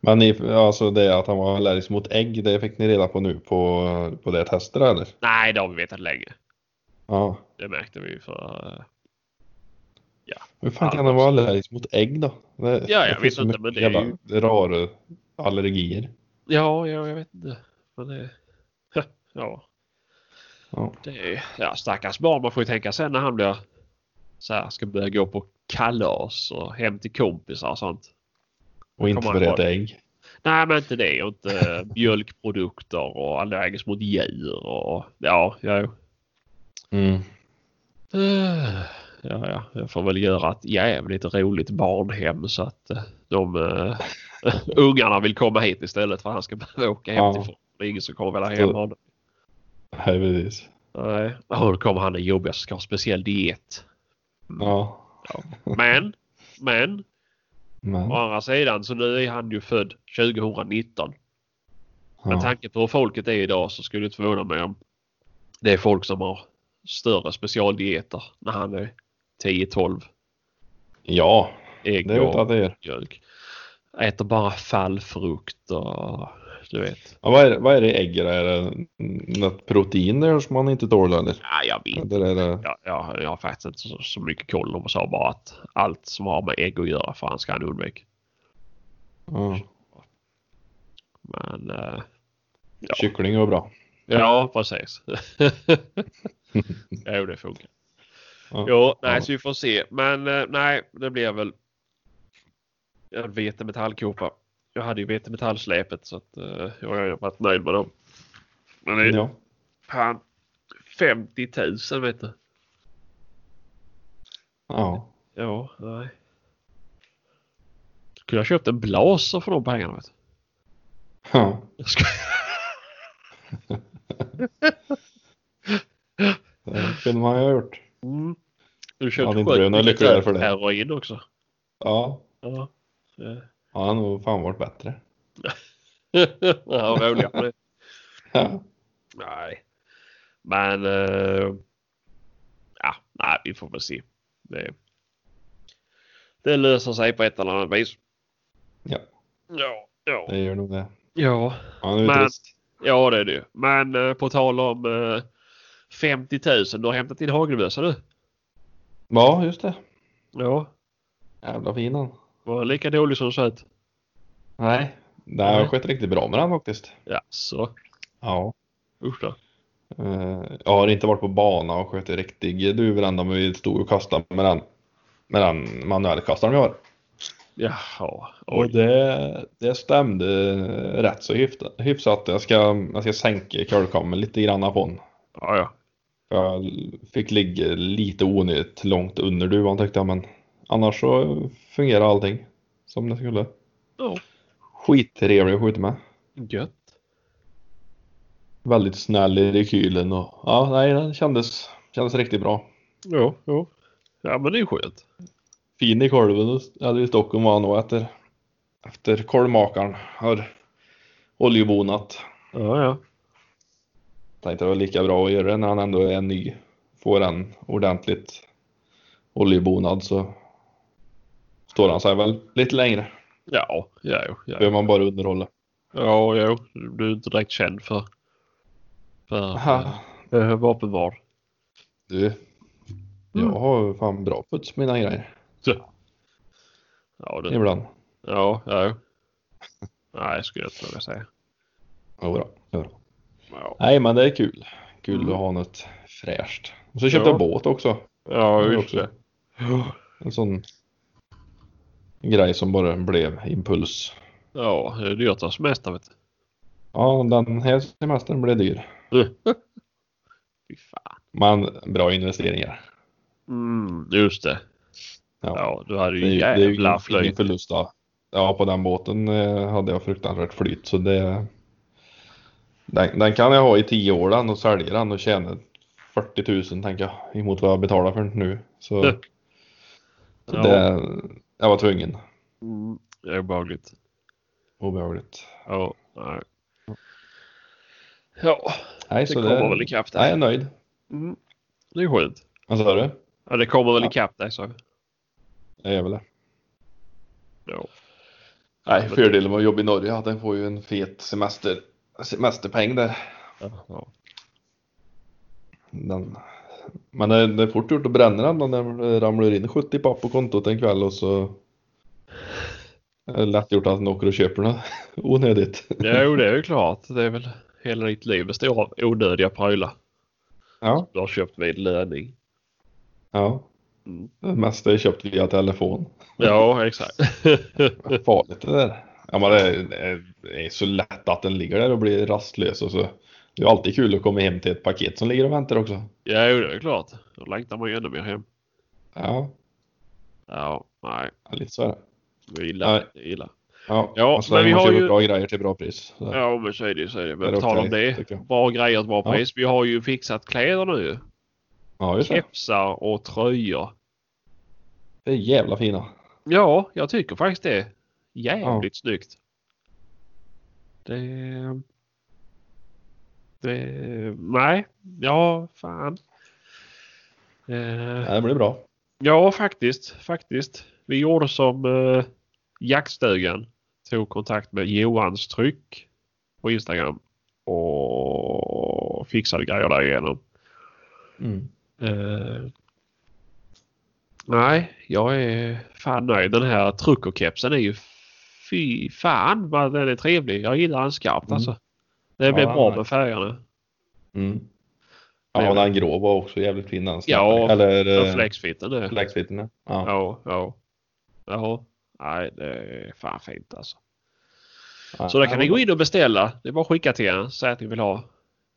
Men ni, alltså det att han var allergisk mot ägg, det fick ni reda på nu på, på det testet eller?
Nej, det har vi vetat länge.
Ja.
Det märkte vi ju för... eh,
Hur fan kan han vara allergisk mot ägg då? Det,
jag
det finns
vet
så
inte,
mycket
men det är ju-
jävla Rara allergier.
Ja, ja, jag vet inte. Men det... Ja,
Ja.
det är... Ja, stackars barn. Man får ju tänka sen när han blir... Så här, ska börja gå på kalas och hem till kompisar och sånt.
Och inte
Kommer
för
han
ett
ha-
ägg.
Nej, men inte det. Och inte mjölkprodukter och allergisk mot djur och... Ja, jag...
Mm.
Eh, Ja, ja, jag får väl göra ett jävligt roligt barnhem så att eh, de eh, ungarna vill komma hit istället för att han ska behöva åka hem
Ja.
till folk. Det är ingen som kommer vilja ha
Så-
hem honom.
Ja, precis.
Nej, oh, då kommer han den jobbiga som ska ha en speciell diet.
Ja.
Men, men,
Men,
å andra sidan så nu är han ju född 2019. Med
ja.
tanke på hur folket är idag så skulle det inte förvåna mig om det är folk som har större specialdieter när han är 10-12.
ja,
Ägg
det är utan
och
att det är.
mjölk. Äter bara fallfrukt och du vet.
Ja, vad, är det, vad är det i ägg? Är det något protein där som man inte tål eller?
Ja, jag vet
Eller är det...
Ja, jag, jag har faktiskt inte så, så mycket koll. De sa bara att allt som har med ägg att göra fan ska han undvika.
Ja.
Men eh,
Kyckling var bra.
Ja, precis. jo, det funkar.
Ja.
Jo, nej,
Ja.
så vi får se. Men eh, nej, det blir väl en vetemetallkopa. Jag hade ju vetemetallsläpet så att eh, jag har varit nöjd med dem. Men det är
Ja.
fan 50 000 vet du.
Ja.
Ja, nej. Kunde jag köpt en blaser för de pengarna vet du.
ja.
Jag skojar.
Det kunde man ju ha gjort.
Mm. Du
Ja, det
köpte
är inte bra. Jag är lyckligare för det.
heroin också.
Ja.
Ja. Eh.
Ja, han har nog fan varit bättre.
ja, roligare med det.
Ja.
Nej. Men... eh, ja, nej, vi får väl se. Det, det löser sig på ett eller annat vis.
Ja.
Ja, ja.
Det gör nog det.
Ja,
Han är ju
Men-
trist.
ja det är det ju. Men eh, på tal om eh, 50 000. Du har hämtat in hagelbössa du?
Ja, just det.
Ja.
Jävla fin han.
Var han lika dålig som söt?
Nej. Det
Nej.
har skett riktigt bra med han faktiskt.
Ja, så.
Ja.
Usch då.
Eh, Jag har inte varit på bana och skjutit riktig duvrända men vi stod och kastade med den, med den manuellkastaren vi har.
Jaha.
Och
Oj.
det, det stämde rätt så hyfta- hyfsat. Jag ska, jag ska sänka curlkammen lite grann på den.
Ja, ja.
Jag fick ligga lite onödigt långt under duvan tyckte jag men annars så fungerar allting som det skulle.
Ja.
Skittrevlig att skjuta med.
Gött.
Väldigt snäll i rekylen och ja, nej, den kändes, kändes riktigt bra.
Ja, ja. Ja, men det är ju skönt.
fin i kolven eller i stocken var han nog efter, efter kolvmakaren har oljebonat.
Ja, ja.
Tänkte det var lika bra att göra det när han ändå är ny. Får en ordentligt oljebonad så står han sig väl lite längre.
Ja, ja, ja. ja.
Behöver man bara underhålla.
Ja, jo. Du är inte direkt känd för, för
Aha,
eh, vapenvård.
du, jag har fan bra puts på mina grejer
Ja, det,
ibland.
ja, ja. Nej, skulle jag inte våga säga.
Jodå, jodå.
Ja,
Nej men det är kul. Kul
Mm.
att ha något fräscht. Och så köpte
Ja.
jag båt också.
ja
Det är
just
också
det.
En sån grej som bara blev impuls.
Ja, det är dyrt att semester vet
Ja, den här semestern blev dyr.
du. Fy fan.
Men bra investeringar.
Mm, just det.
Ja.
Ja, du hade
Det är
ju
ju- det är ju
jävla
ingen- ingen
flöjt.
förlust av, Ja, på den båten eh, hade jag fruktansvärt flyt så det... Den, den kan jag ha i tio år den och sälja den och tjäna 40 000 tänker jag emot vad jag betalar för den nu. Så
Ja.
så det, jag var tvungen.
Mm, det är obehagligt.
Obehagligt.
Ja, nej. Ja,
Nej,
det
så
kommer
det,
väl ikapp
nej, jag
dig.
är nöjd.
Mm. Det är skönt.
Vad sa du?
Ja, det kommer väl
Ja.
ikapp dig så.
Jag gör väl det.
Ja.
Nej, fördelen med att jobba i Norge är att den får ju en fet semester, semesterpeng där.
Ja.
Den. Men det, det är fort gjort att bränna den då när det ramlar in 70 papp på kontot en kväll och så är det lätt gjort att den åker och köper den onödigt.
Jo, det är ju klart. Det är väl hela ditt liv består av onödiga prylar.
Ja,
Du har köpt vid löning.
ja.
Mm.
Det mesta är köpt via telefon.
Ja, exakt.
Vad farligt det där. Ja, men det, är, det är så lätt att den ligger där och blir rastlös och så. Det är alltid kul att komma hem till ett paket som ligger och väntar också.
ja, jo, det är klart. Då längtar man ju ännu mer hem.
Ja,
Ja, nej.
lite så är det.
Det är illa.
Nej.
Det är illa.
Ja,
Ja,
och så
men vi
man
har
köper
ju-
bra grejer till bra pris. Så.
Ja, men så är det ju. så är det.
Det är
Men på
okej,
tal om
tycker
det.
jag.
Bra grejer till bra
Ja.
pris. Vi har ju fixat kläder nu.
Ja, just det.
Kepsar och tröjor.
Det är jävla fina.
Ja, jag tycker faktiskt det. Jävligt snyggt. Det... Det... Nej. Ja, fan. Eh,
Ja, det blir bra.
ja, faktiskt. Faktiskt. Vi gjorde som eh, jaktstugan. Tog kontakt med Johans tryck på Instagram. Och fixade grejer därigenom.
Mm.
Eh, nej, jag är fan nöjd. Den här truckerkepsen är ju fy fan vad den är trevlig. Jag gillar den skarpt
Mm.
alltså. Det blev
Ja,
bra
nej.
med färgerna.
Mm.
Det
Ja,
är
den grå var också jävligt fin. Den
Ja,
Eller
Den
eh,
flexfitten är.
flexfiten. Ja. Ja.
Ja, ja. Ja, nej det är fan fint alltså.
Ja.
Så där kan ni
det
gå in och beställa. Det är bara att skicka till er. Säg att ni vill ha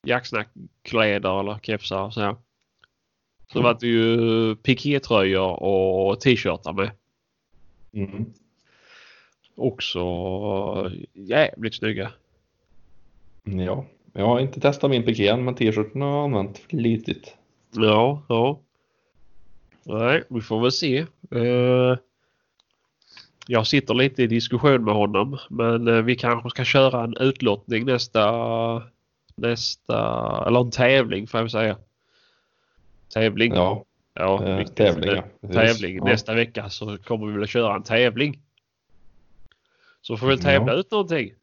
jacksnackkläder eller kepsar och så här.
Mm.
Så vart det ju pikétröjor och t-shirtar med.
Mm.
Också jävligt snygga.
Ja. Jag har inte testat min piké än, men t-shirten har jag använt flitigt.
Ja, ja. Nej, vi får väl se. Eh, jag sitter lite i diskussion med honom, men eh, vi kanske ska köra en utlottning nästa... Nästa... Eller en tävling får jag väl säga. Tävling.
Ja,
Ja,
eh,
viktigt.
tävling.
Eh,
Ja. Precis.
tävling.
Ja.
Nästa vecka så kommer vi väl att köra en tävling. Så får vi tävla ut någonting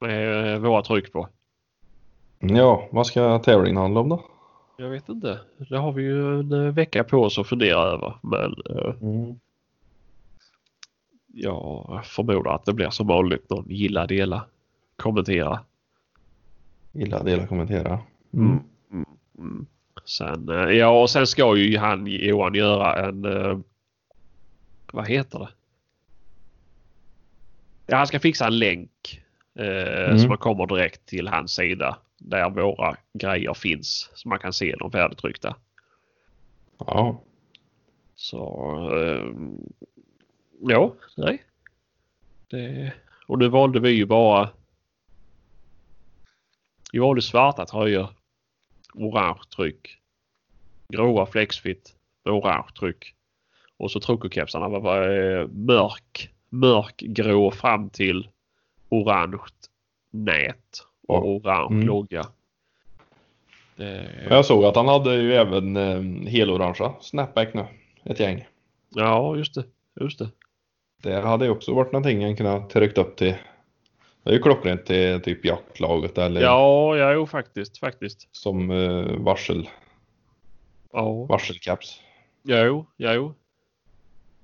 med eh, våra tryck på.
Ja, vad ska tävlingen handla om då?
Jag vet inte. Det har vi ju en eh, vecka på oss att fundera över. Men eh, jag förmodar att det blir som vanligt någon gilla, dela, kommentera.
Gilla, dela, kommentera.
Mm. Sen, eh, ja, och sen ska ju han Johan göra en... eh, Vad heter det? Ja, han ska fixa en länk eh,
Mm.
så man kommer direkt till hans sida där våra grejer finns så man kan se dem färdigtryckta.
Ja.
Så... Eh, ja, nej. Det, och nu valde vi ju bara... Vi valde svarta tröjor. Orange tryck. Gråa flexfit med orange tryck. Och så trokokepsarna var, var eh, mörk, mörkgrå fram till orange nät och
Ja.
orange
Mm.
logga. Det,
Jag såg att han hade ju även eh, helorangea snapback nu. Ett gäng.
ja, just det. Just det.
Det hade ju också varit någonting han kunnat tryckt upp till. Det är ju klockrent till typ jaktlaget eller
Ja, ja, jo faktiskt, faktiskt.
som eh, varsel,
Ja,
varselcaps.
jo, jo.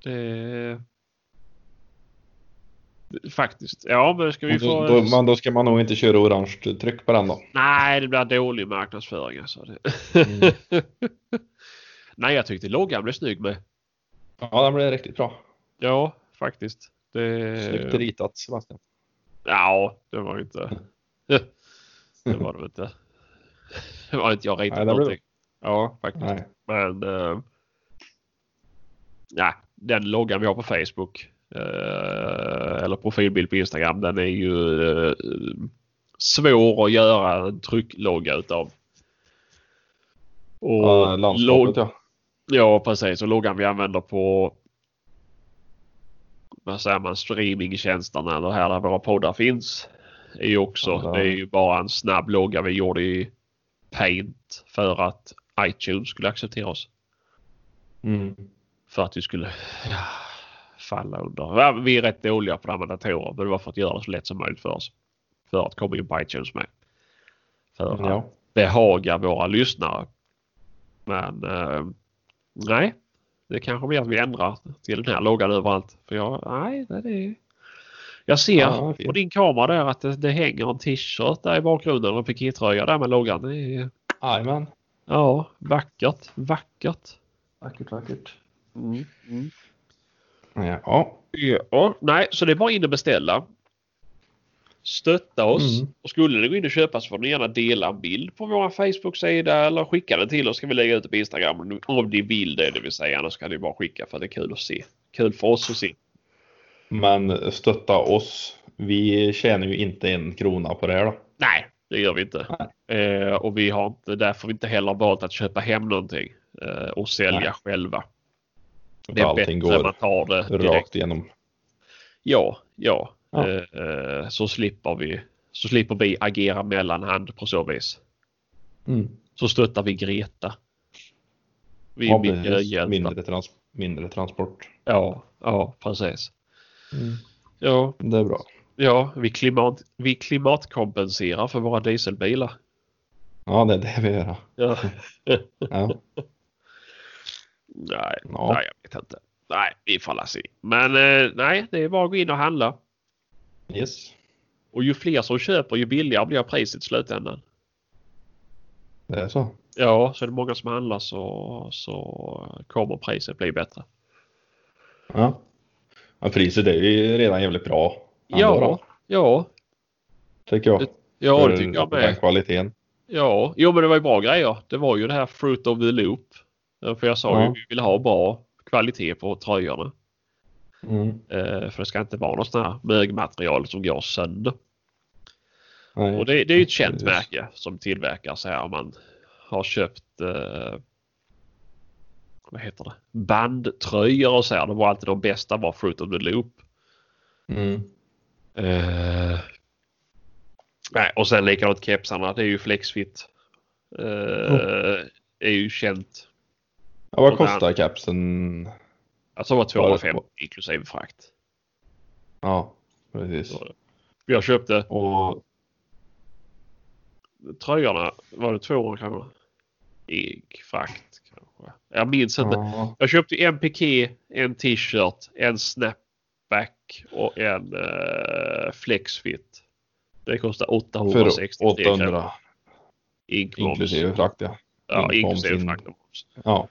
Det... Faktiskt. Ja, men ska vi
Och
få...
Då, då, men då ska man nog inte köra orange tryck på den då.
Nej, det blir dålig marknadsföring alltså. Det...
Mm.
Nej, jag tyckte loggan blev snygg med.
Ja, den blev riktigt bra.
Ja, faktiskt. Det...
Snyggt ritat Sebastian.
Ja, det var inte... det var det inte. Det var inte jag
Nej,
ritade
det blev-
någonting. Ja, faktiskt.
Nej.
Men... Eh, nej, den loggan vi har på Facebook. Eh, eller profilbild på Instagram. Den är ju eh, svår att göra en trycklogga utav. Och
Ja, landskapet ja.
Ja, precis. Och loggan vi använder på vad säger man, streamingtjänsterna eller här där våra poddar finns är ju också,
Ja.
det är ju bara en snabb logga vi gjorde i Paint för att iTunes skulle acceptera oss.
Mm.
För att vi skulle ja, falla under. Ja, Vi är rätt dåliga på det här med datorer men det var för att göra det så lätt som möjligt för oss. För att komma in på iTunes med. För att
Ja.
behaga våra lyssnare. Men eh, nej, det kanske blir att vi ändrar till den här loggan överallt. För jag, nej, det är... Jag ser
Ja, vad fint.
på din kamera där att det, det hänger en t-shirt där i bakgrunden och en pikétröja där med loggan. Det är,
Jajamän.
ja, vackert, vackert.
Vackert, vackert.
Mm.
Ja.
Ja, nej, så det är bara in och beställa. Stötta oss.
Mm.
Och skulle ni gå in och köpa så får ni gärna dela en bild på vår Facebook-sida eller skicka den till oss. Ska vi lägga ut det på Instagram om- om ni vill det, det vill säga. Annars kan ni bara skicka för det är kul att se. Kul för oss att se.
Men stötta oss. Vi tjänar ju inte en krona på det här då.
Nej, det gör vi inte. Eh, och vi har inte, därför har vi inte heller valt att köpa hem någonting eh, och sälja
Nej.
själva.
För
Det är bättre
allting
att man
går
tar det direkt.
rakt igenom.
Ja, ja.
Ja.
Eh, eh, så slipper vi så slipper vi agera mellanhand på så vis.
Mm.
Så stöttar vi Greta. Vi
Ja, precis.
miljöhjältar.
mindre, trans mindre transport.
Ja, ja, precis. Ja,
Mm. Det är bra.
ja vi, klimat, vi klimatkompenserar för våra dieselbilar.
Ja, det är det vi gör. ja.
Ja.
Ja.
nej,
Ja.
nej, jag vet inte. Nej, vi får alla se. Men eh, nej, det är bara att gå in och handla.
Yes.
Och ju fler som köper ju billigare blir priset i slutändan.
Det är så.
Ja, så är det många som handlar så, så kommer priset bli bättre.
Ja. Men priset är ju redan jävligt bra. ändå
Ja,
då,
ja,
Tycker jag.
ja, det
För-
tycker jag
för
med.
Den kvaliteten.
Ja, jo men det var ju bra grejer. Det var ju det här Fruit of the Loop. Eh, För jag sa ju
Ja.
att vi vill ha bra kvalitet på tröjorna.
Mm.
Eh, För det ska inte vara något sånt här mögmaterial som går sönder.
Nej.
Och det, det är ju ett känt
Precis.
märke som tillverkar så här om man har köpt eh, vad heter det? bandtröjor och så här. Det var alltid de bästa var Fruit of the Loop.
Mm.
Eh, nej, och sen likadant kepsarna. Det är ju Flexfit. Eh, Är ju känt.
Ja, vad
Och den-
kostar kapsen?
Alltså det var 250 inklusive frakt.
Ja, precis.
Så var det. Jag köpte
Och
tröjorna. Var det 200 kronor? I frakt kanske. Jag minns inte.
ja,
Jag köpte en piké, en t-shirt, en snapback och en eh, flexfit. Det kostar
för
863 kronor.
800
Inklusive.
inklusive frakt ja.
Ja,
inkomst
inklusive
in-
frakt och moms.
Ja,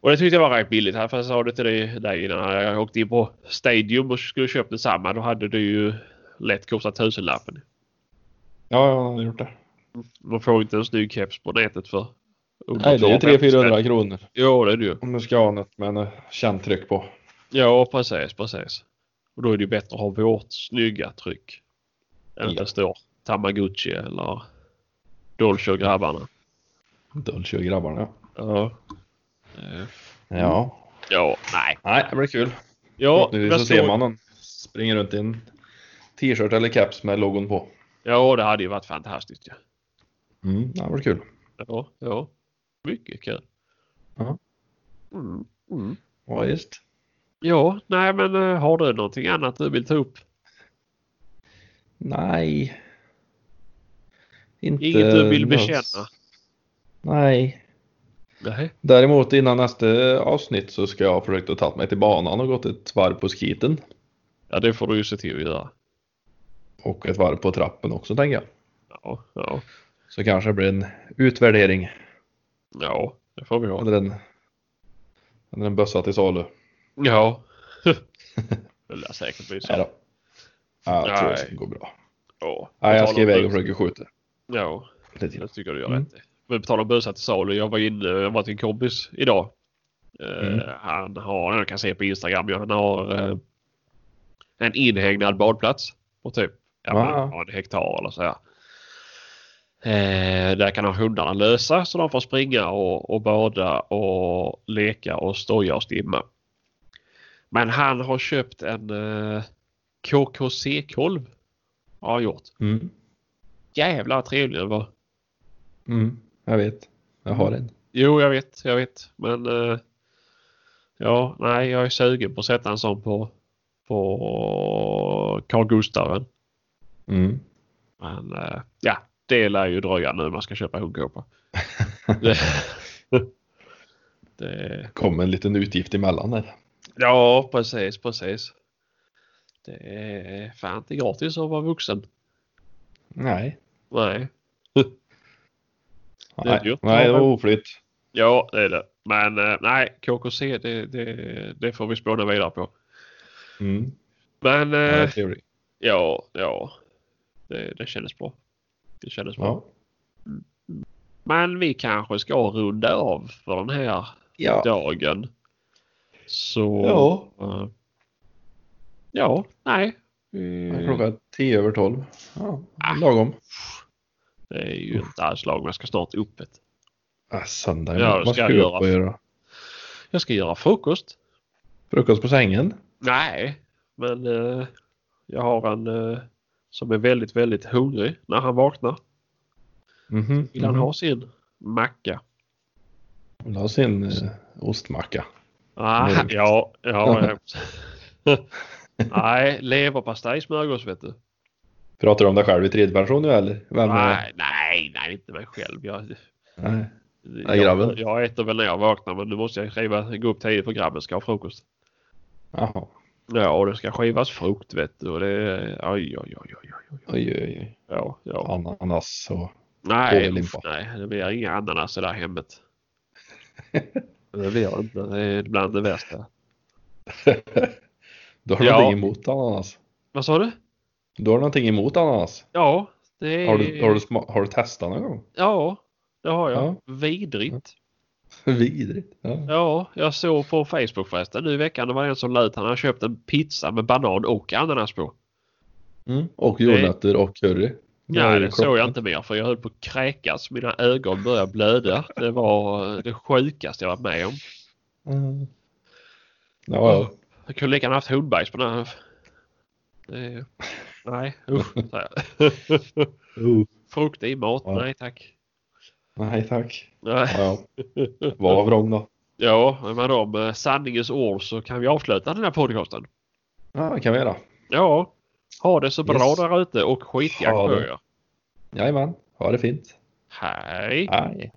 Och det tyckte jag var rätt billigt här. För jag sa det till dig där innan. Jag åkte in på Stadium och skulle köpa detsamma. Då hade det ju lätt kostat tusenlappen.
ja jag har gjort det.
Man får inte en snygg keps på nätet för under
Nej, det är ju
250 spänn.
300-400 kronor.
Ja, det är det ju.
Om du ska ha något med en eh, känt tryck på.
Ja, precis, precis. Och då är det ju bättre att ha vårt snygga tryck. Än att
Ja.
det står Tamagotchi eller Dolce och grabbarna.
Dulce och grabbarna ja.
Ja. Eh,
Ja.
Ja, nej.
Nej, det blir kul.
Ja,
Förhoppningsvis
jag
så
såg-
ser man någon springa runt i en t-shirt eller caps med logon på.
Ja, det hade ju varit fantastiskt ju.
Mm, det blir kul.
Ja, ja. Mycket kul.
Ja.
Mm, mm.
Ja, just.
Ja, nej men eh, har du någonting annat du vill ta upp?
Nej. Inte
Inget du vill
något-
bekänna?
Nej.
Nej.
Däremot innan nästa avsnitt så ska jag ha försökt att ta mig till banan och gått ett varv på skiten.
Ja, det får du ju se till att göra.
Och ett varv på trappen också tänker jag.
Ja, ja.
Så kanske det blir en utvärdering.
Ja, det får vi ha.
Eller en, eller en bössa till salu.
Ja. det lär säkert bli så.
Nej då. Ja, jag tror
Nej.
det går bra.
Ja,
Nej, jag ska
Betala
iväg och
bus.
försöka skjuta.
Ja,
Lite.
det tycker jag du gör
Mm.
rätt i. Men på tal om busar till salu. Jag var inne, jag var till en kompis idag. Eh,
Mm.
Han har, jag kan se på Instagram, ja, han har eh, en inhägnad badplats på typ ja,
Ja.
men, ja, en hektar eller så. Här. Eh, där kan han hundarna lösa så de får springa och, och bada och leka och stoja och stimma. Men han har köpt en eh, KKC-kolv. Har han gjort.
Mm.
Jävlar vad trevlig den var.
Mm. Jag vet. Jag har en.
Jo, jag vet, jag vet. Men eh, ja, nej, jag är sugen på att sätta en sån på, på Carl Gustaven.
Mm.
Men eh, ja, det lär ju dröja nu man ska köpa hundkåpa. det, det,
Kom en liten utgift emellan där.
ja, precis, precis. Det är fan inte gratis att vara vuxen.
Nej.
Nej. Det är
Nej,
dyrt.
Nej det var oflytt.
Ja, det är det. Men eh, nej, KKC, det, det, det får vi spåna vidare på.
Mm.
Men
Ja, det är
eh,
trevligt.
Ja, ja. Det, det kändes bra. Det kändes bra.
Ja.
Men vi kanske ska runda av för den här
Ja.
dagen. Så...
ja.
eh, ja, nej. Eh,
Klockan tio över tolv. Ja, lagom.
Det är ju inte alls lagom. Jag ska snart upp ett.
Ah, söndag.
Ja, det
Vad
ska
ska
jag
du
göra.
upp och göra?
Jag ska göra frukost.
Frukost på sängen?
Nej, men eh, jag har en eh, som är väldigt, väldigt hungrig när han vaknar.
Mhm.
Vill han ha sin macka?
Vill ha sin eh, ostmacka?
Ah,
Mörkt.
ja, ja. ja. Nej, leverpastej, smörgås vet du.
Pratar du om dig själv i tredje person nu eller? Vem är-
Nej, nej, nej, inte mig själv. Jag,
Nej. grabben.
jag, jag äter väl när jag vaknar men nu måste jag skriva, gå upp tidigt för grabben ska ha frukost.
Jaha.
Ja, och det ska skivas frukt vet du och det är oj, oj, oj, oj, oj.
Oj, oj, oj.
Ja, ja.
Ananas och...
Nej,
Fågellimpa.
uff, nej, det blir inga ananas i det här hemmet. Det blir det inte. Det är bland det värsta.
du har
Ja.
någonting emot ananas?
Vad sa du?
Du har någonting emot ananas?
Ja, det är...
Har du, har du, sma- har du testat någon gång?
Ja, det har jag.
Ja.
Vidrigt.
Vidrigt. Ja.
Ja, jag såg på Facebook förresten nu i veckan. Det var en som lät. Han hade köpt en pizza med banan och ananas på.
Mm. Och jordnötter och curry.
Ja,
är
det
klockan.
såg jag inte mer för jag höll på att kräkas. Mina ögon började blöda. Det var eh, det sjukaste jag varit med om.
Mm. Ja, ja.
Jag kunde lika gärna haft hundbajs på den här. Det- Nej, usch. sa jag.
Oh.
Frukt i mat,
Ja.
nej tack.
Nej tack.
Nej.
Ja, ja. Var vrång då.
Ja, med de eh, sanningens ord så kan vi avsluta den här podcasten.
Ja, det kan vi göra.
Ja, ha det så bra
Yes.
där ute och skitjakt
Ha
på
det.
er.
Jajamän. Ha det fint.
Hej!
Hej.